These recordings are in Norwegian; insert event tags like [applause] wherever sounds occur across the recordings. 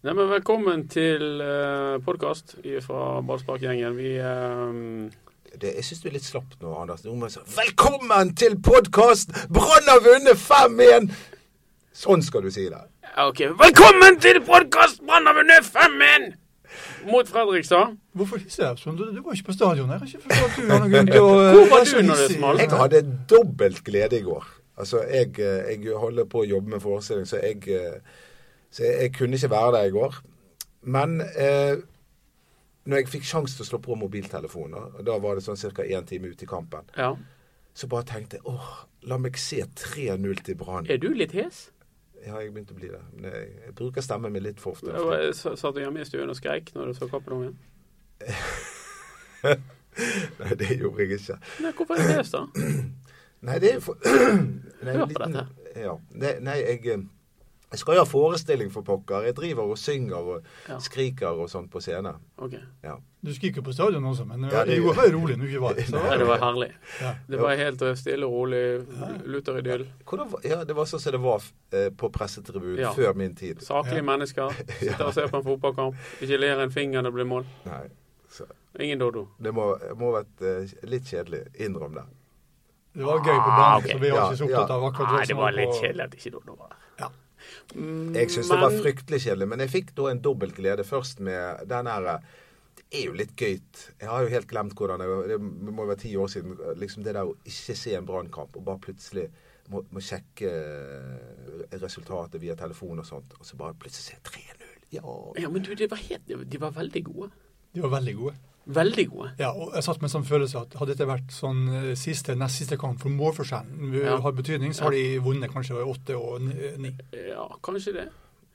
Nei, men velkommen til uh, podkast fra Ballsparkgjengen. Vi eh, Det, jeg syns du er litt slapp nå, Anders. Du må si 'Velkommen til podkast! Brann har vunnet 5-1!' Sånn skal du si det. ja, OK. Velkommen til podkast Brann har vunnet 5-1! Mot Fredrikstad. Hvorfor hisser jeg opp sånn? Du, du var ikke på stadion her. Jeg har ikke forstått at du har noen grunn til å [laughs] eh, Hvor var du når det smalt? Jeg hadde dobbelt glede i går. Altså, jeg, eh, jeg holder på å jobbe med forestilling, så jeg, eh, så jeg, jeg kunne ikke være der i går. Men eh, når jeg fikk sjanse til å slå på mobiltelefoner, og da var det sånn ca. én time ut i kampen, Ja. så bare tenkte jeg åh, la meg se 3-0 til Brann. Er du litt hes? Ja, jeg begynte å bli det. Men jeg, jeg bruker stemmen min litt for ofte. Jeg var- jeg sa- Satt du hjemme i stuen og skreik når du så Kappelongen? [laughs] Nei, det gjorde jeg ikke. Nei, hvorfor er du hes, da? Nei, det er jo for... [clears throat] Nei, Hør på liten- dette. Ja. Nei, nei jeg, eh, jeg skal jo ha forestilling for pokker. Jeg driver og synger og Ja. skriker og sånn på scenen. OK. Ja. Du skriker på stadion også, men eh, Ja, det- det går bare rolig når du ikke var [laughs] der. så- Ja, det var herlig. Ja. Det var helt eh, stille og rolig. Lutheridyll. Hvordan, var- ja, det var sånn som det var eh, på pressetribunen Ja. før min tid. Saklige Ja. mennesker. Sitter og ser på en fotballkamp. Ikke ler en finger når det blir mål. Nei, så Ingen dodo. det må, må ha vært eh, litt kjedelig. Innrøm det. Det var gøy på Ah, banen, ok. så vi var ikke så Ja, ja. opptatt av akkurat sånn Nei, det som var litt på- kjedelig at ikke dodo var der. Ja. Jeg syns det var Men- fryktelig kjedelig, men jeg fikk da en dobbelt glede først med den her eh, Det er jo litt gøy. Jeg har jo helt glemt hvordan det var. Det må jo være ti år siden. Liksom det der å ikke se en brannkamp og bare plutselig må, må sjekke eh, resultatet via telefon og sånt, og så bare plutselig se 3-0. Ja. Ja, men du, de var, helt, de var veldig gode. De var veldig gode. Veldig gode. Ja, og jeg satt med en sånn følelse at hadde dette vært sånn eh, siste, nest siste kamp for målforskjellen eh, Ja. har betydning, så har de vunnet kanskje åtte og ni- eh, ni. Ja, kanskje det.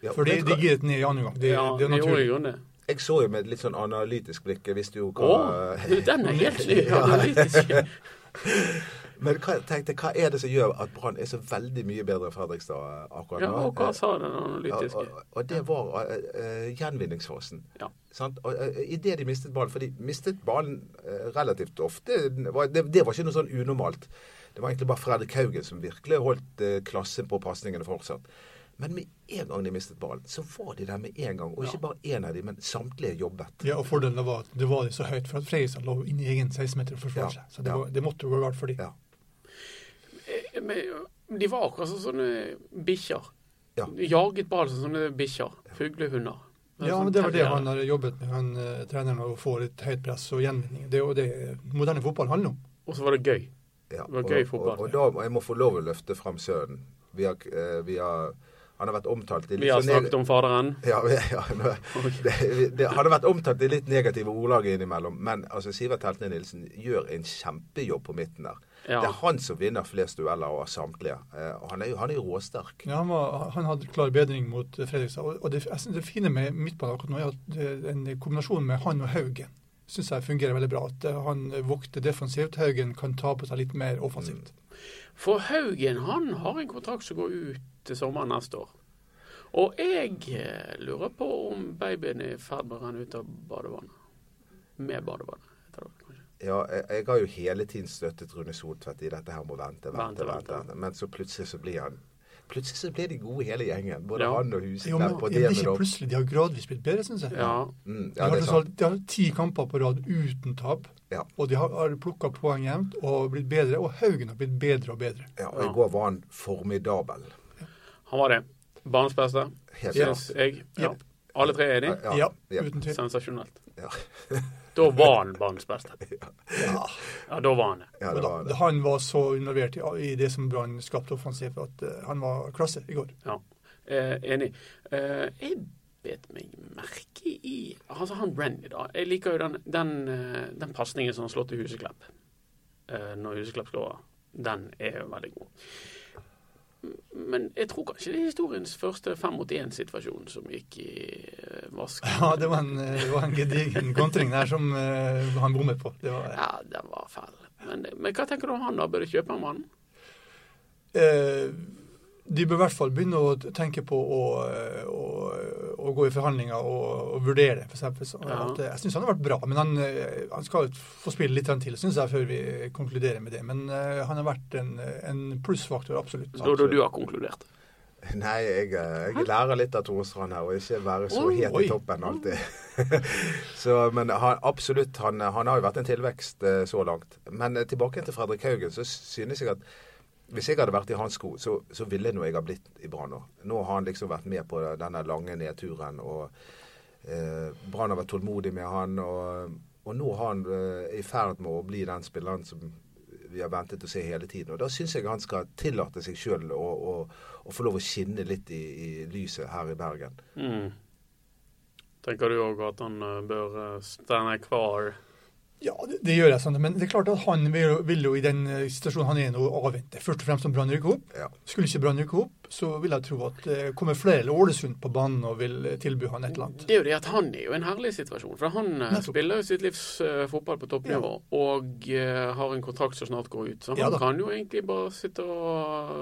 Ja, For de, vet du de hva? gir et ni i andre gang. Det, Ja, det de er gjorde i naturlig. grunnen det. Jeg så jo med et litt sånn analytisk blikk. Jeg visste Å, jo hva du, den er helt ny. Ja, den er [laughs] litt- [laughs] Men hva, tenkte, hva er det som gjør at Brann er så veldig mye bedre enn Fredrikstad akkurat ja, nå? og hva Eh, sa den og, analytiske? og- og det var eh, eh, gjenvinningsfasen. Ja. Sant? Og, eh, i det de mistet ballen, for de mistet ballen eh, relativt ofte. Det var, det, det var ikke noe sånn unormalt. Det var egentlig bare Fredrik Haugen som virkelig holdt eh, klassen på pasningene fortsatt. Men med en gang de mistet ballen, så var de der med en gang. Og ikke bare én av de, men samtlige jobbet. Ja, og Fordelen var at det var så høyt for at Fredrikstad lå inne i egen 16-meter og forsvarte Ja, seg. Så det, ja. var, det måtte jo gå galt for dem. Ja. Eh, men, De var akkurat som sånne bikkjer. Ja. Jaget ball som sånne bikkjer. Fuglehunder. Ja, Sånn men Det var det terrier. han har jobbet med, han eh, treneren, å få litt høyt press og gjenvinning. Det er jo det moderne fotball handler om. Og så var det gøy. Ja, Det var gøy og- fotball. Og, og da må jeg må få lov å løfte frem sønnen. Vi har, eh, vi har, han har vært omtalt i litt Vi har sånn neg- snakket om [laughs] faderen. Ja, [laughs] vi- ja nå- det, det hadde vært omtalt i litt negative ordlag innimellom, men altså, Sivert Heltne Nilsen gjør en kjempejobb på midten der. Ja. Det er han som vinner flest dueller av samtlige. Eh, og han er jo, han er jo råsterk. Ja, han, var, han hadde klar bedring mot eh, Fredrikstad. Og og det, jeg synes det fine med midtbanen akkurat nå er at eh, en kombinasjon med han og Haugen syns jeg fungerer veldig bra. At eh, han vokter defensivt, Haugen kan ta på seg litt mer Mm. offensivt. For Haugen han har en kontrakt som går ut til sommeren neste år. Og jeg eh, lurer på om babyen er i ferd med å renne ut av badevannet. Med badevannet. heter det kanskje. Ja, jeg, jeg har jo hele tiden støttet Rune Soltvedt i dette her med å vente, vente, Vente, vente. vente. Men så plutselig så blir han Plutselig så blir de gode hele gjengen. Både Ja. han og Huset Jo, men på det er Demen ikke og plutselig. De har gradvis blitt bedre, syns jeg. Ja. mm, De Ja, har, det er tross sant. alt- de har ti kamper på rad uten tap, Ja. og de har, har plukka poeng jevnt og blitt bedre. Og Haugen har blitt bedre og bedre. Ja, og I går var han formidabel. Han var det. Banens beste, Helt Ja. synes jeg. Ja. Jep. Alle tre er enig? Ja, Ja, ja. uten tvil. Sensasjonelt. Ja. Da var han banens beste. Ja. Ja, da var han det. Ja, Og det da, var det. Han var så involvert i, i det som Brann skapte offensivt, at eh, han var klasse i går. Ja. Eh, enig. Eh, jeg bet meg merke i Altså, han Brenny, da. Jeg liker jo den, den, eh, den pasningen som han slår til Huseklepp eh, når Huseklepp skårer. Den er jo veldig god. Men jeg tror kanskje det er historiens første fem mot én-situasjon som gikk i eh, vasken. [laughs] Ja, det var en, eh, det var en gedigen kontring der som eh, han bommet på. Det var, Ja, den var fæl. Men, men hva tenker du om han, da? Bør du kjøpe en mann? eh, de bør i hvert fall begynne å tenke på å, eh, å, å gå i forhandlinger og, og vurdere, for eksempel. Så, Ja. at, eh, jeg syns han har vært bra, men han, eh, han skal jo få spille litt til, syns jeg, før vi konkluderer med det. Men eh, han har vært en, en plussfaktor, absolutt. Da da du har konkludert. Nei, jeg, eh, jeg lærer litt av Tore Strand her, og ikke være så Oi, helt oi. i toppen alltid. [laughs] så, men han, absolutt, han, han har jo vært en tilvekst eh, så langt. Men eh, tilbake til Fredrik Haugen, så synes jeg at hvis jeg hadde vært i hans sko, så, så ville nå jeg ha blitt i Brann nå. Nå har han liksom vært med på denne lange nedturen, og eh, Brann har vært tålmodig med han, og, og nå har han eh, i ferd med å bli den spilleren som vi har ventet å se hele tiden. Og da syns jeg han skal tillate seg sjøl å, å, å få lov å skinne litt i, i lyset her i Bergen. Mm. Tenker du òg at han eh, bør eh, stande kvar? Ja, det, det gjør jeg, sant, men det er klart at han vil, jo- vil jo i den eh, situasjonen han er i nå, avvente. Først og fremst om Brann rykker opp. Ja. Skulle ikke Brann rykke opp, så vil jeg tro at det kommer flere eller Ålesund på banen og vil eh, tilby han et eller annet. Det er jo det at han er jo i en herlig situasjon. For han eh, Nettopp. spiller jo sitt livs eh, fotball på toppnivå og eh, har en kontrakt som snart går ut. Så han Ja da. kan jo egentlig bare sitte og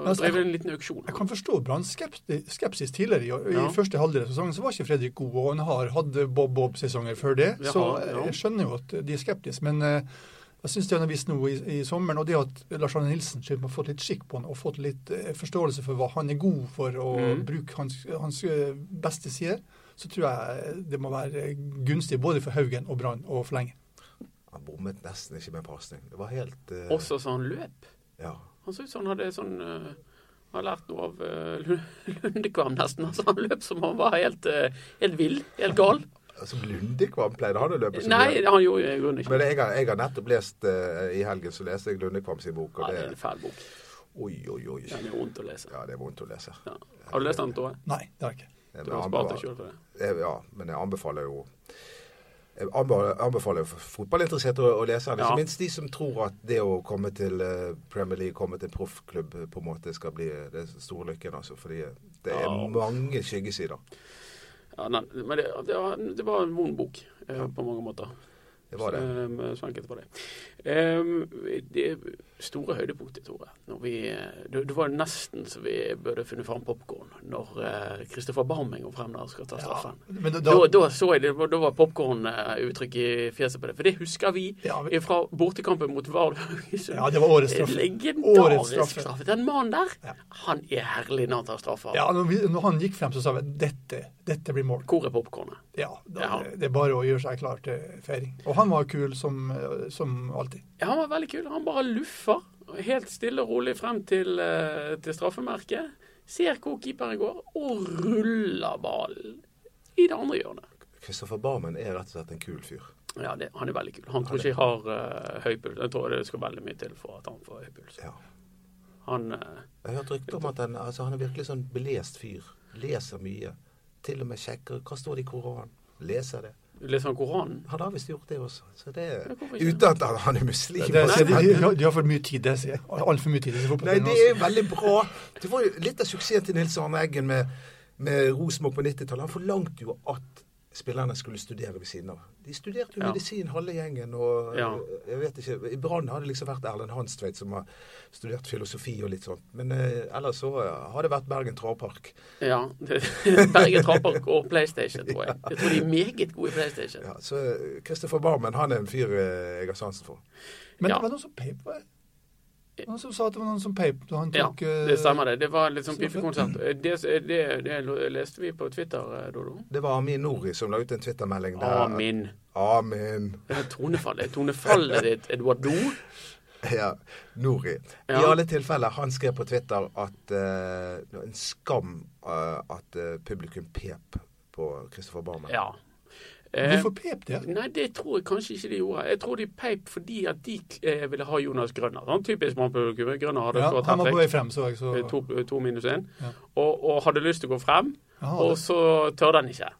Men altså, drive jeg- en liten auksjon. Jeg kan forstå Branns skepti- skepsis tidligere. I, år. Ja. I første halvdel av sesongen så var ikke Fredrik god, og han har hatt bob-bob-sesonger før det. Ja, så ja. jeg skjønner jo at de er skeptiske. Men eh, jeg syns det han har vist nå i, i sommeren, og det at Lars Arne Nilsen skyld, har fått litt skikk på han og fått litt eh, forståelse for hva han er god for, og Mhm. bruke hans, hans eh, beste sider, så tror jeg det må være gunstig både for Haugen og Brann å forlenge. Han bommet nesten ikke med en pasning. Det var helt eh, Også så han løp. Ja. Han så ut som han hadde sånn eh, Han har lært noe av eh, Lund- [laughs] Lundekvam, nesten. Altså, han løp som om han var helt, eh, helt vill, helt gal. Altså, Lundekvam pleide han å løpe som Nei, løp. han gjorde i grunnen ikke Men det. jeg har, jeg har nettopp lest eh, I helgen så leste jeg Lundekvam sin Ja, bok, og det det er en fæl bok. Oi, oi, oi. Den er vondt å lese. Ja, det er vondt å lese. Ja. Har du lest den, Tore? Nei, det har jeg ikke. Jeg, Du har spart deg sjøl for det. jeg, ja, men jeg anbefaler jo jeg anbe- anbefaler jo fotballinteresserte å å lese den. Ja. Ikke minst de som tror at det å komme til eh, Premier League, komme til en proffklubb, eh, på en måte skal bli eh, den store lykken. Altså, fordi det er Ja. mange skyggesider. Ja, nei, men det, det, var, det var en vond bok eh, på mange måter. Det var det. Så, eh, så enkelt var det. Eh, det store høydepunktet, Tore. Når vi, eh, det, det var nesten så vi burde funnet fram popkorn når eh, Kristoffer Barming og frem der skal ta straffen. Men da, Da, da så jeg det, da var popkornuttrykket i fjeset på det. For det husker vi Ja, vi- fra bortekampen mot Vard [laughs] Haugesund. ja, det var årets straff. Årets Legendarisk straffe. straffe. Den mannen der, Ja. han er herlig når han tar straffer. Ja, når, vi, når han gikk frem, så sa vi dette, dette blir mål. Hvor er popkornet? Ja, da, Ja. Det, det er bare å gjøre seg klar til feiring. Og han var kul som, eh, som alltid. Ja, han var veldig kul. Han bare luffer helt stille og rolig frem til, eh, til straffemerket. Ser hvor keeperen går, og ruller ballen i det andre hjørnet. Kristoffer Barmen er rett og slett en kul fyr. Ja, det, Han er veldig kul. Han tror ikke jeg har eh, høy puls. Jeg tror det skal veldig mye til for at han får høy puls. Ja. Han, eh, Jeg har hørt rykter om at han, altså, han er virkelig sånn belest fyr. Leser mye. Til og med sjekker hva står det i Koranen. Leser det. litt sånn Koranen. Han har visst gjort det også. Så det, Men hvorfor ikke? uten at han- han er muslim. Det, altså, de, men- de, de har for mye tid, det sier jeg. Altfor mye tid. til Nei, fotballtrening det altså- også. er veldig bra. Det var jo litt av suksessen til Nils Arne Eggen med, med Rosenborg på 90-tallet. Han forlangte jo at spillerne skulle studere ved siden av. De studerte jo Ja. medisin, halve gjengen, og Ja. jeg vet ikke I Brann har det liksom vært Erlend Hanstveit som har studert filosofi og litt sånt. Men eh, ellers så eh, har det vært Bergen Travpark. Ja. [laughs] Bergen Trapark og PlayStation, tror jeg. Jeg tror de er meget gode i PlayStation. Ja, så Kristoffer Barmen, han er en fyr eh, jeg har sansen for. altså. Men Ja. det var noen som peip var det? Noen som sa at det var noen som peip da han Ja, tok eh, det stemmer det. Det var litt sånn Straffen. pipekonsert. Det, det, det leste vi på Twitter, eh, Dodo. Det var Amin Nori som la ut en Twitter-melding der. Amen. Amen. Det er Tonefallet Eh, Tonefallet ditt, Eduardo. [laughs] Ja, Nori. I Ja. alle tilfeller, han skrev på Twitter at eh, det var en skam eh, at eh, publikum pep på Christopher Barmen. Ja. Eh, Hvorfor peip det? nei, det tror jeg kanskje ikke de gjorde. Jeg tror de peip fordi at de eh, ville ha Jonas Grønner. Sånn typisk mannpublikum. Grønner hadde Ja, skåret han var på hat vei frem, så jeg. Så. To, to minus én. Ja. Og, og hadde lyst til å gå frem, Jaha, og det- så tørde han ikke.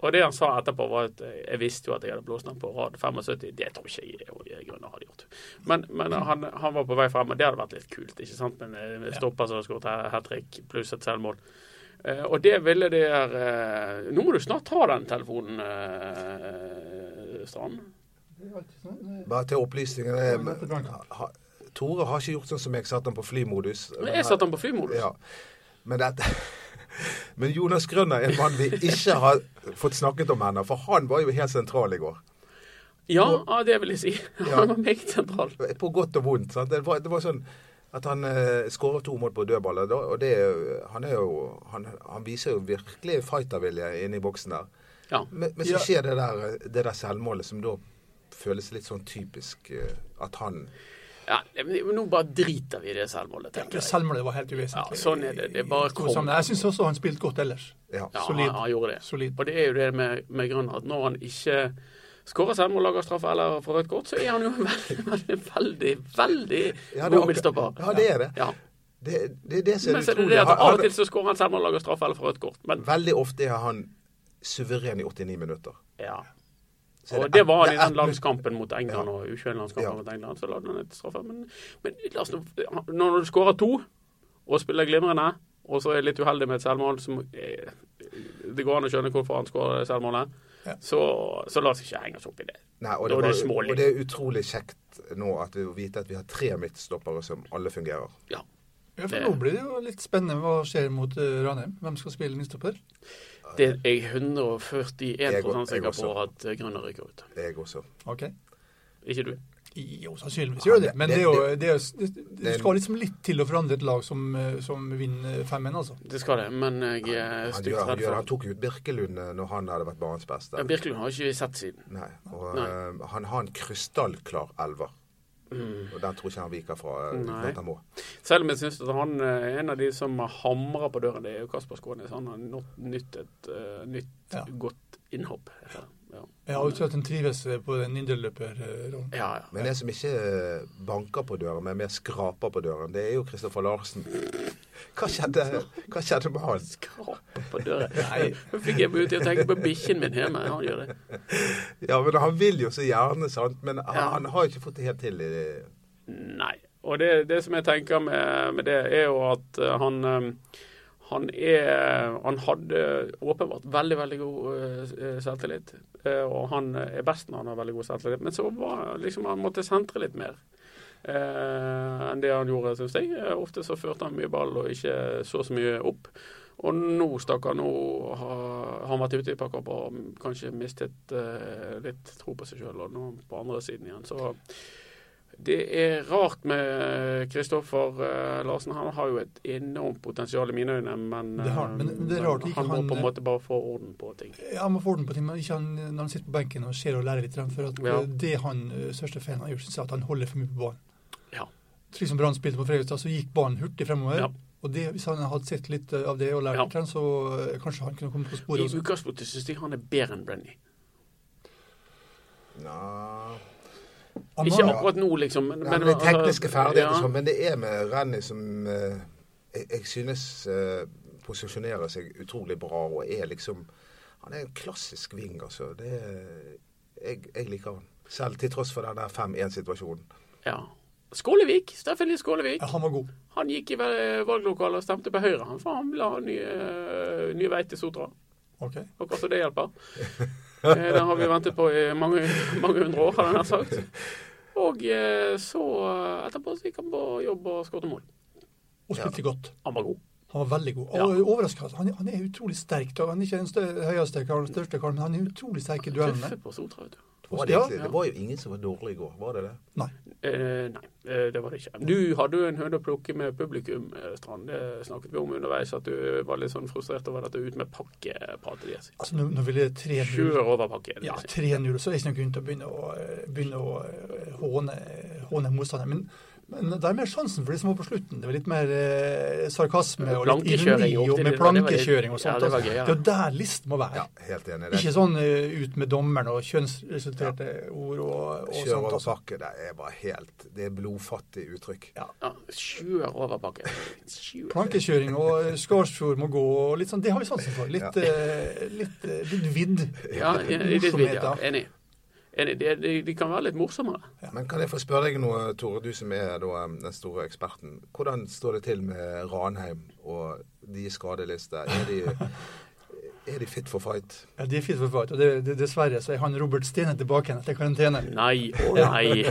Og det han sa etterpå, var at eh, jeg visste jo at jeg hadde blåst den på rad 75. Det tror ikke jeg Åge Grønner hadde gjort. Men, men han, han var på vei frem, og det hadde vært litt kult, ikke sant? Men eh, stopper som har skåret hat trick, pluss et selvmål. Eh, og det ville det her eh, Nå må du snart ta den telefonen, eh, Strand. sånn. Bare til opplysningen Ja, dette kan eh, jeg. ha, Tore har ikke gjort sånn som jeg satte han på flymodus. Men jeg satte han på flymodus. Ja. Men dette [laughs] Men Jonas Grønner er en mann vi ikke har fått snakket om ennå, for han var jo helt sentral i går. Ja, ja, det vil jeg si. [laughs] Ja. Han var meget sentral. På godt og vondt. Sant? Det, var, det var sånn At han eh, skårer to mål på dødballer. da, og det, er jo- han, er jo, han, han viser jo virkelig fightervilje inne i boksen der. Ja. Men, men Ja. så skjer det der, det der selvmålet som da føles litt sånn typisk eh, at han ja men men nå bare driter vi i det selvmålet, Ja, tenker jeg. Selvmålet var helt uvesentlig. Ja, sånn er det. Det bare I stor kom. sammenheng. Jeg syns også han spilte godt ellers. Ja. Ja, Solid. han, han gjorde det. Solid. Og det er jo det med, med Grønner, at når han ikke skårer selvmål, lager straffe eller får rødt kort, så er han jo en veldig, [laughs] veldig, veldig, veldig Ja, det er god akkurat- midtstopper. Ja, det er det. Ja. Det det er det som Men er så er det utrolig. det at Han- av og han- til så skårer han selvmål, lager straffe eller får rødt kort. Men Veldig ofte er han suveren i 89 minutter. ja. Så er og det var det han i er den landskampen mot England Ja. og U21-landskampen Ja. mot England, så lagde han et straffe. Men, men la oss nå Når du skårer to og spiller glimrende, og så er litt uheldig med et selvmål som eh, Det går an å skjønne hvorfor han skårer det selvmålet. Ja. Så, så la oss ikke henge oss opp i det. Nei, og, Da det er det var- smålig. og det er utrolig kjekt nå at vi vet at vi har tre midtstoppere som alle fungerer. Ja. Ja, for Det- Nå blir det jo litt spennende hva skjer mot eh, Ranheim. Hvem skal spille midtstopper? Det er jeg 141 Jeg- jeg sikker på også. at eh, Grønner ryker ut. Jeg også. Ok. Ikke du? Jo, sannsynligvis gjør det, men det, er jo, det, er, jo- det, det skal liksom litt til å forandre et lag som, eh, som vinner 5-1, altså. Det skal det, men eh, jeg er Han, stygt gjør, han, redd gjør, han for tok ut Birkelund eh, når han hadde vært banens beste. Birkelund har ikke vi sett siden. Nei, og Nei. eh, han har en krystallklar elver. Og den tror ikke han viker fra. eh, uten Nei. at han må. Selv om jeg syns at han eh, er en av de som hamrer på døren, det er jo Kasper Skånes. Han har nådd nytt et eh, nytt Ja. godt innhopp. heter det. Ja. Jeg har uttalt at han trives på den indreløperrollen. Ja, ja. Men en som ikke eh, banker på døren, men mer skraper på døren, det er jo Kristoffer Larsen. Hva skjedde, hva skjedde med han? Krape på døren. Nei. Nå fikk jeg meg ut i å tenke på bikkjen min hjemme. Han gjør det. Ja, men Han vil jo så gjerne, sant? men han, Ja. han har ikke fått det helt til. i- Nei. Og det, det som jeg tenker med, med det, er jo at eh, han eh, han, er, han hadde åpenbart veldig veldig god eh, selvtillit, Eh, og han er best når han har veldig god selvtillit. Men så var liksom han måtte sentre litt mer eh, enn det han gjorde, syns jeg. Eh, Ofte så førte han mye ball og ikke så så mye opp. Og nå, stakkar, nå har har han vært ute i et par kamper og kanskje mistet eh, litt tro på seg sjøl, og nå er han på andre siden igjen. Så det er rart med Kristoffer eh, Larsen. Han har jo et enormt potensial i mine øyne, men, Det har han, men- eh, men det er rart ikke han må han- eh, på en måte bare få orden på ting. Ja, man får den på ting, men ikke han, når han sitter på benken og ser og lærer litt. For at Ja. eh, det han eh, største fan har gjort, syns jeg at han holder for mye på banen. Ja. Slik som Brann spilte på Fredrikstad, så gikk banen hurtig fremover. Ja. Og det, hvis han hadde sett litt eh, av det og lært Ja. litt, så eh, kanskje han kunne komme på I sporet også. utgangspunktet syns jeg han er bedre enn Brenny. Nja Han Ikke var- akkurat nå, liksom. Men, Ja, men det er altså, tekniske ferdigheter, ja. sånn, men det er med Renny som eh, jeg, jeg synes eh, posisjonerer seg utrolig bra og er liksom Han er en klassisk wing, altså. Det er, jeg, jeg liker han. Selv til tross for den der 5-1-situasjonen. Ja. Skålevik, Steffen Lie Skålevik. ja, han var god. Han gikk i vel- valglokalet og stemte på Høyre, han, for han ville ha ny, eh, ny vei til Sotra. Ok. Akkurat så det hjelper. [laughs] Eh, Den har vi ventet på i mange, mange hundre år, har jeg nær sagt. Og eh, så eh, etterpå så gikk han på jobb og skåret mål. Og spilte godt. Han var god. Han var veldig god. Ja. Og overraskende. Han, han er utrolig sterk. da. Han er ikke den stø høyeste karen, den største karen, men han er utrolig sterk i duellene. Tøffe på Sotra, vet du. Det var, det, Ja. egentlig- det var jo ingen som var dårlig i går, var det det? Nei. Eh, nei, eh, det var det ikke. Du hadde jo en høne å plukke med publikum, eh, Strand. Det snakket vi om underveis, at du var litt sånn frustrert over dette ut med pakkepratet deres. Altså, nå, nå ville det 3-0 Kjør over pakken. Ja, 3-0, så er det ikke noen grunn til å begynne å, begynne å eh, håne, håne motstanderen. Men, men det er mer sjansen for de som var på slutten. Det var litt mer eh, sarkasme og litt ironi Plankekjøring opp til det- ja, og med det var- plankekjøring og ja, sånt. det var altså. gøy, ja. Det er jo der listen må være. Ja, helt enig. Ikke Det. sånn eh, ut med dommeren og kjønnsresulterte ord og, og Kjør sånt. over Altså. pakke. Det er bare helt Det er blodfattig uttrykk. Ja. Ja, kjør over bakken. Kjør. Plankekjøring og Skarsfjord må gå og litt sånn. Det har vi sansen for. Litt, eh, litt, eh, litt vidd. Ja, i- i ditt Morsomhet, video. ja. Enig. Enig. De, de, de kan være litt morsommere. Men kan jeg få spørre deg noe, Tore, du som er da, eh, den store eksperten. Hvordan står det til med Ranheim og de skadelister? Er [laughs] de, er de fit for fight? Ja, de er fint for fight, og det, det, dessverre så er han Robert Stene tilbake igjen etter karantene. Nei og nei.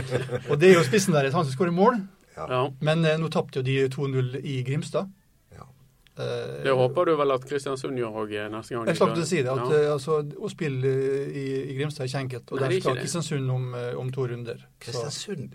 Og det er jo spissen deres, han som skårer mål. [laughs] Ja. Men eh, nå tapte jo de 2-0 i Grimstad. Ja. Eh, Det håper du vel at Kristiansund gjør òg neste gang. de jeg slapp skal- til å si det. At, ja. eh, altså, å spille eh, i, i Grimstad er ikke enkelt. Nei, Og det der er ikke skal det. Kristiansund om, eh, om to runder. Så, Kristiansund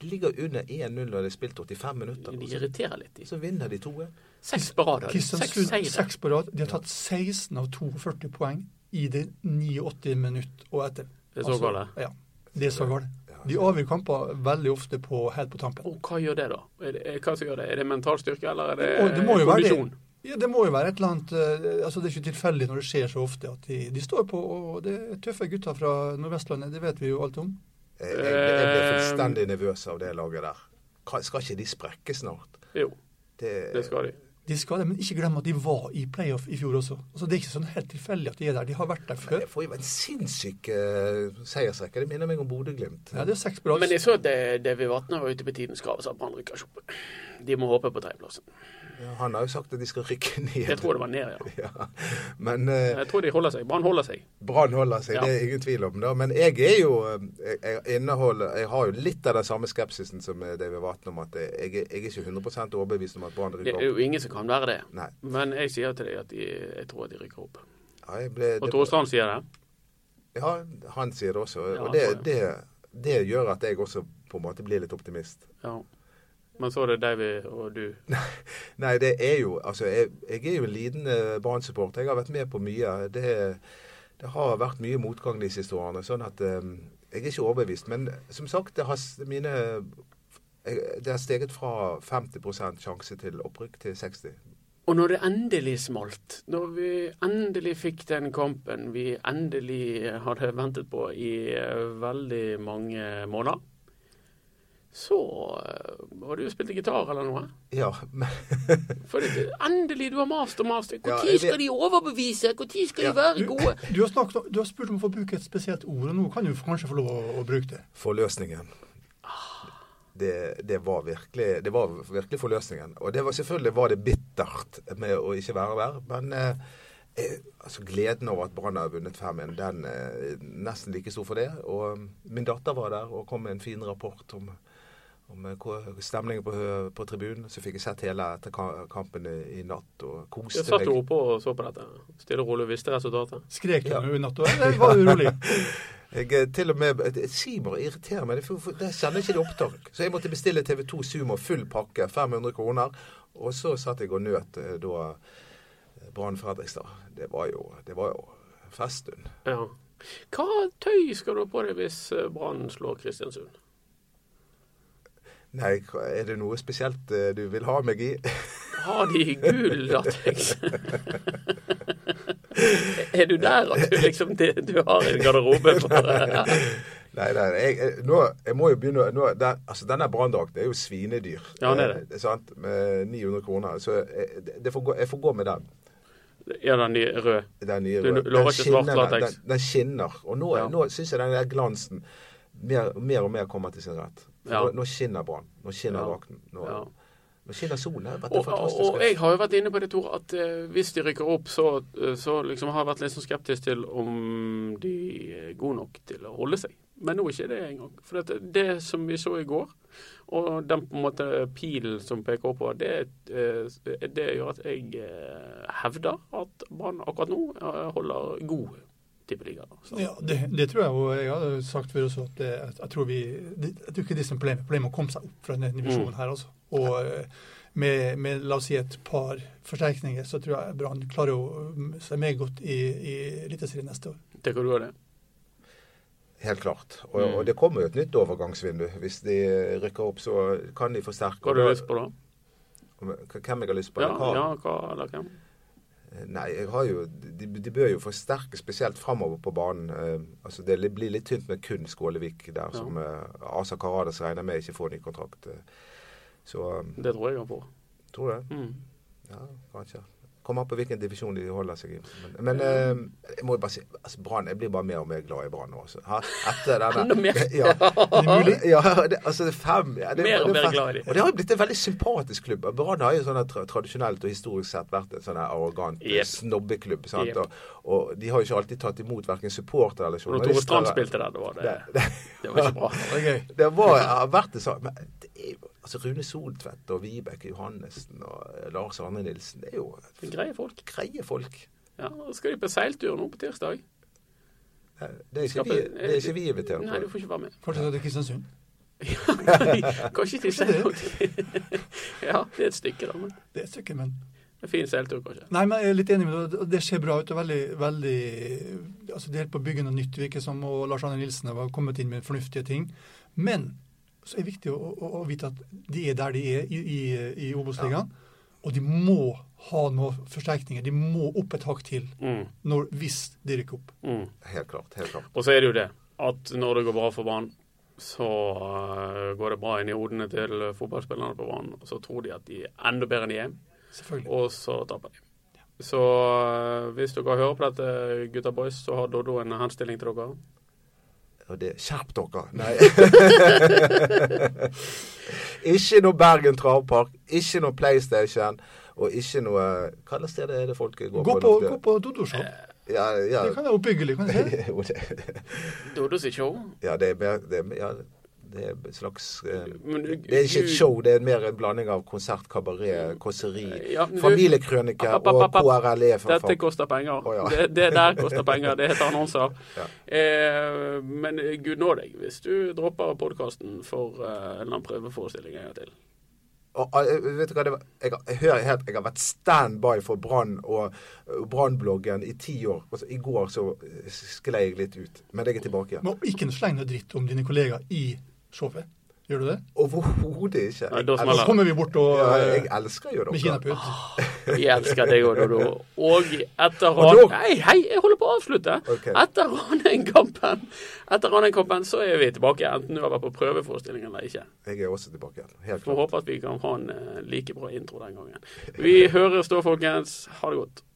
Du ligger under 1-0 når det er spilt 85 minutter. De og så- irriterer litt. de. Så vinner de 2-1. Seks på rad. har de. Seks Kristiansund seire. seks på rad. De har tatt 16 av 42 poeng i det 89 minutt og etter. Det er så Altså, galt. Ja. Det er så galt. Ja, De avgjør kamper veldig ofte på helt på tampen. Og hva gjør det, da? Er det, hva som gjør det? Er det mental styrke, eller er det, Og det må jo være det. kondisjon? Ja, det må jo være et eller annet eh, altså Det er ikke tilfeldig når det skjer så ofte at de, de står på. Og det er tøffe gutter fra Nordvestlandet, det vet vi jo alt om. Jeg, jeg, jeg ble fullstendig nervøs av det laget der. Ka- Skal ikke de sprekke snart? Jo, Det, det skal de. De skal det, Men ikke glem at de var i playoff i fjor også. Altså Det er ikke sånn helt tilfeldig at de er der. De har vært der før. Jeg får jo en sinnssyk uh, seiersrekke. Det minner meg om Bodø-Glimt. Ja, det er seks på rad. Men jeg så at det- Davy Vatne var ute på tidens krav og sa at Brann rykker ikke opp. De må håpe på tredjeplassen. Ja, Han har jo sagt at de skal rykke ned. Jeg tror det var ned, ja. [laughs] Ja. Men eh, Jeg tror de holder seg. Brann holder seg. Brann holder seg, Ja. det er ingen tvil om. Da. Men jeg er jo eh, jeg, jeg inneholder, jeg har jo litt av den samme skepsisen som eh, David Vatn om at jeg, jeg, er- jeg er ikke 100 overbevist om at Brann Det rykker er opp. jo ingen som kan være det. Nei. Men jeg sier til deg at de, jeg tror at de rykker opp. Ja, jeg ble, Og det- Tore Strand sier det. ja, han sier det også. Ja, Og det, han sa det, det gjør at jeg også på en måte blir litt optimist. Ja. Men så er det Davy og du. Nei, det er jo Altså, jeg, jeg er jo en lidende Brann-supporter. Jeg har vært med på mye. Det, det har vært mye motgang de siste årene. Sånn at eh, jeg er ikke overbevist. Men som sagt, det har s- mine jeg- Det har steget fra 50 sjanse til opprykk til 60 Og når det endelig smalt, når vi endelig fikk den kampen vi endelig hadde ventet på i eh, veldig mange måneder, så eh, Har du spilt gitar eller noe? Ja, men [laughs] For det, endelig, du har mast og mast. Ja, Når jeg vet- skal de overbevise? Når skal Ja, de være du, gode? du, har snakket, om- du har spurt om å få bruke et spesielt ord, og nå kan du kanskje få lov å, å bruke det. forløsningen. Det, det, var virkelig, det var virkelig forløsningen. Og det var, selvfølgelig var det bittert med å ikke være der. Men eh, eh, altså, gleden over at Brann har vunnet 5-1, den eh, er nesten like stor for det. Og um, min datter var der og kom med en fin rapport om, om eh, hvor- stemningen på, hø- på tribunen. Så fikk jeg sett hele etter ka- kampen i, i natt og koste Jeg satt meg. jo oppe og så på dette. Stille og rolig visste resultatet. Skrek du Ja. nå i natt [laughs] òg, eller var du rolig? [laughs] Jeg eh, til og med Simor irriterer meg. Det er for- for- Der sender ikke de opptak. Så jeg måtte bestille TV2 Sumo full pakke, 500 kroner. Og så satt jeg og nøt eh, da eh, Brann Fredrikstad. Det var jo, det var jo feststund. Ja. Hva tøy skal du ha på deg hvis eh, Brann slår Kristiansund? Nei, hva- er det noe spesielt eh, du vil ha [laughs] meg i? Har de gul lateks? [laughs] er du der at du liksom det, du har en garderobe for [laughs] Nei, nei, jeg, jeg, nå, jeg må jo begynne å- nå, der, altså Denne branndrakten er jo svinedyr. Ja, det er det. Eh, sant? Med 900 kroner. Så jeg, det- det får gå, jeg får gå med den. Ja, den nye rød. Den nye Du røde. lover Den ikke svart skinner, latex? Den, den skinner. Og nå, Ja. nå syns jeg den der glansen mer, mer og mer kommer til sin rett. For Ja. Nå, nå skinner brann. Nå skinner Ja. drakten. Nå, Ja. nå skinner solen. Det har vært Og, en og, fantastisk og jeg har jo vært inne på det, Tor, at eh, hvis de rykker opp, så, eh, så liksom har jeg vært litt sånn skeptisk til om de er gode nok til å holde seg. Men nå er ikke det engang. For det, det som vi så i går, og den på en måte pilen som peker oppover, det, eh, det gjør at jeg eh, hevder at Brann akkurat nå eh, holder god tippeliga. Så- Ja, det, det tror jeg, og jeg har sagt før også at det, at jeg tror vi det, Jeg tror ikke det er sånn problem, problem å komme seg opp fra denne divisjonen her, altså. Og eh, med, med, la oss si, et par forsterkninger, så tror jeg Brann klarer å mm, seg meget godt i, i Eliteserien neste år. Tenker du av det? Helt klart. Og, Mm. og det kommer jo et nytt overgangsvindu. Hvis de rykker opp, så kan de forsterke. Hva har du lyst på da? Hvem jeg har lyst på? Ja, eller hva? ja, hva eller hvem? Nei, jeg har jo, de, de bør jo forsterke spesielt framover på banen. Eh, altså Det li- blir litt tynt med kun Skålevik der, Ja. som eh, Asa Karadas regner med ikke får ny kontrakt. eh. Så eh, Det tror jeg han får. tror du det? Mm. Ja, kanskje. Kommer an på hvilken divisjon de holder seg i. Men, men eh, jeg må jo bare si altså Brann, jeg blir bare mer og mer glad i Brann nå. Altså. Her, etter denne Enda mer. [laughs] Ja, Er det mulig? ja det, altså det er fem ja, det, Mer og det mer er fem. glad i de. Og det har jo blitt en veldig sympatisk klubb. Brann har jo sånn at tra tradisjonelt og historisk sett vært en sånn her arrogant Jep. snobbeklubb. Sant? Jep. Og, og de har jo ikke alltid tatt imot verken supporter eller Og når Tore Strand spilte der, da var det, Det- det- det var ikke bra. Det er gøy. Det var, har vært det samme. Men det er jo- Altså Rune Soltvedt og Vibeke Johannessen og eh, Lars Arne Nilsen, det er jo Greie folk. greie folk. Ja, og skal de på seiltur nå på tirsdag? Det er ikke vi, det er ikke vi invitert Nei, du på. får ikke være med. [laughs] Kanskje det er Kristiansund. kanskje til seiltur. [laughs] ja, det er et stykke, da. Men Det er et stykke, men en fin seiltur, kanskje. Nei, men jeg er litt enig med deg. og Det ser bra ut. og veldig, veldig, altså Det er helt på å bygge noe nytt. Det virker som og Lars Arne Nilsen har kommet inn med fornuftige ting. Men så er det viktig å, å, å vite at de er der de er i, i, i Obos-ligaen. Og de må ha noen forsterkninger. De må opp et hakk til Mm, når, hvis de rykker opp. mm. Helt klart. helt klart. Og så er det jo det at når det går bra for banen, så eh, går det bra inn i hodene til fotballspillerne på banen. Og så tror de at de er enda bedre enn de er, Selvfølgelig. og så taper de. Så eh, hvis dere hører på dette, gutta boys, så har Doddo en henstilling til dere. Og det Skjerp [laughs] dere! Nei. [laughs] ikke noe Bergen travpark, ikke noe PlayStation, og ikke noe Hva slags sted er det folk går Gå på, på? gå på Dodo-shop. Ja, ja. Det kan være oppbyggelig. kan du se. [laughs] Jo, det- Doddos er show. ja, det er mer det er, ja, det er et slags eh, Men du- Det er ikke et du- show, det er mer en blanding av konsert, kabaret, kåseri, Ja, men du- familiekrøniker App, app, og app, app. KRLE. E, for Dette faen. koster penger. Å, ja. det, det der koster penger. Det heter annonser. [laughs] Ja. Eh, men gud nå deg hvis du dropper podkasten for eh, en eller annen prøveforestilling en gang til. Og, eh, vet du hva, det var, jeg, har- jeg hører helt Jeg har vært standby for Brann og eh, Brannbloggen i ti år. Og så, I går så eh, sklei jeg litt ut. Men jeg er tilbake igjen. Men ikke noe sleng noe dritt om dine kollegaer i showet. Gjør du det? Overhodet ikke. Nei, da smeller Jeg Så det. elsker- kommer vi bort og, ja, eh, jeg elsker jo dere. med kinaput. Vi elsker deg òg, Dodo. Og etter Og ran... dog- Hei, hei, jeg holder på å avslutte. Ok. Etter Ranheim-kampen Etter Ranheim-kampen så er vi tilbake, enten du har vært på prøveforestilling eller ikke. Jeg er også tilbake igjen. Helt Får klart. håpe at vi kan ha en eh, like bra intro den gangen. Vi høres da, folkens. Ha det godt.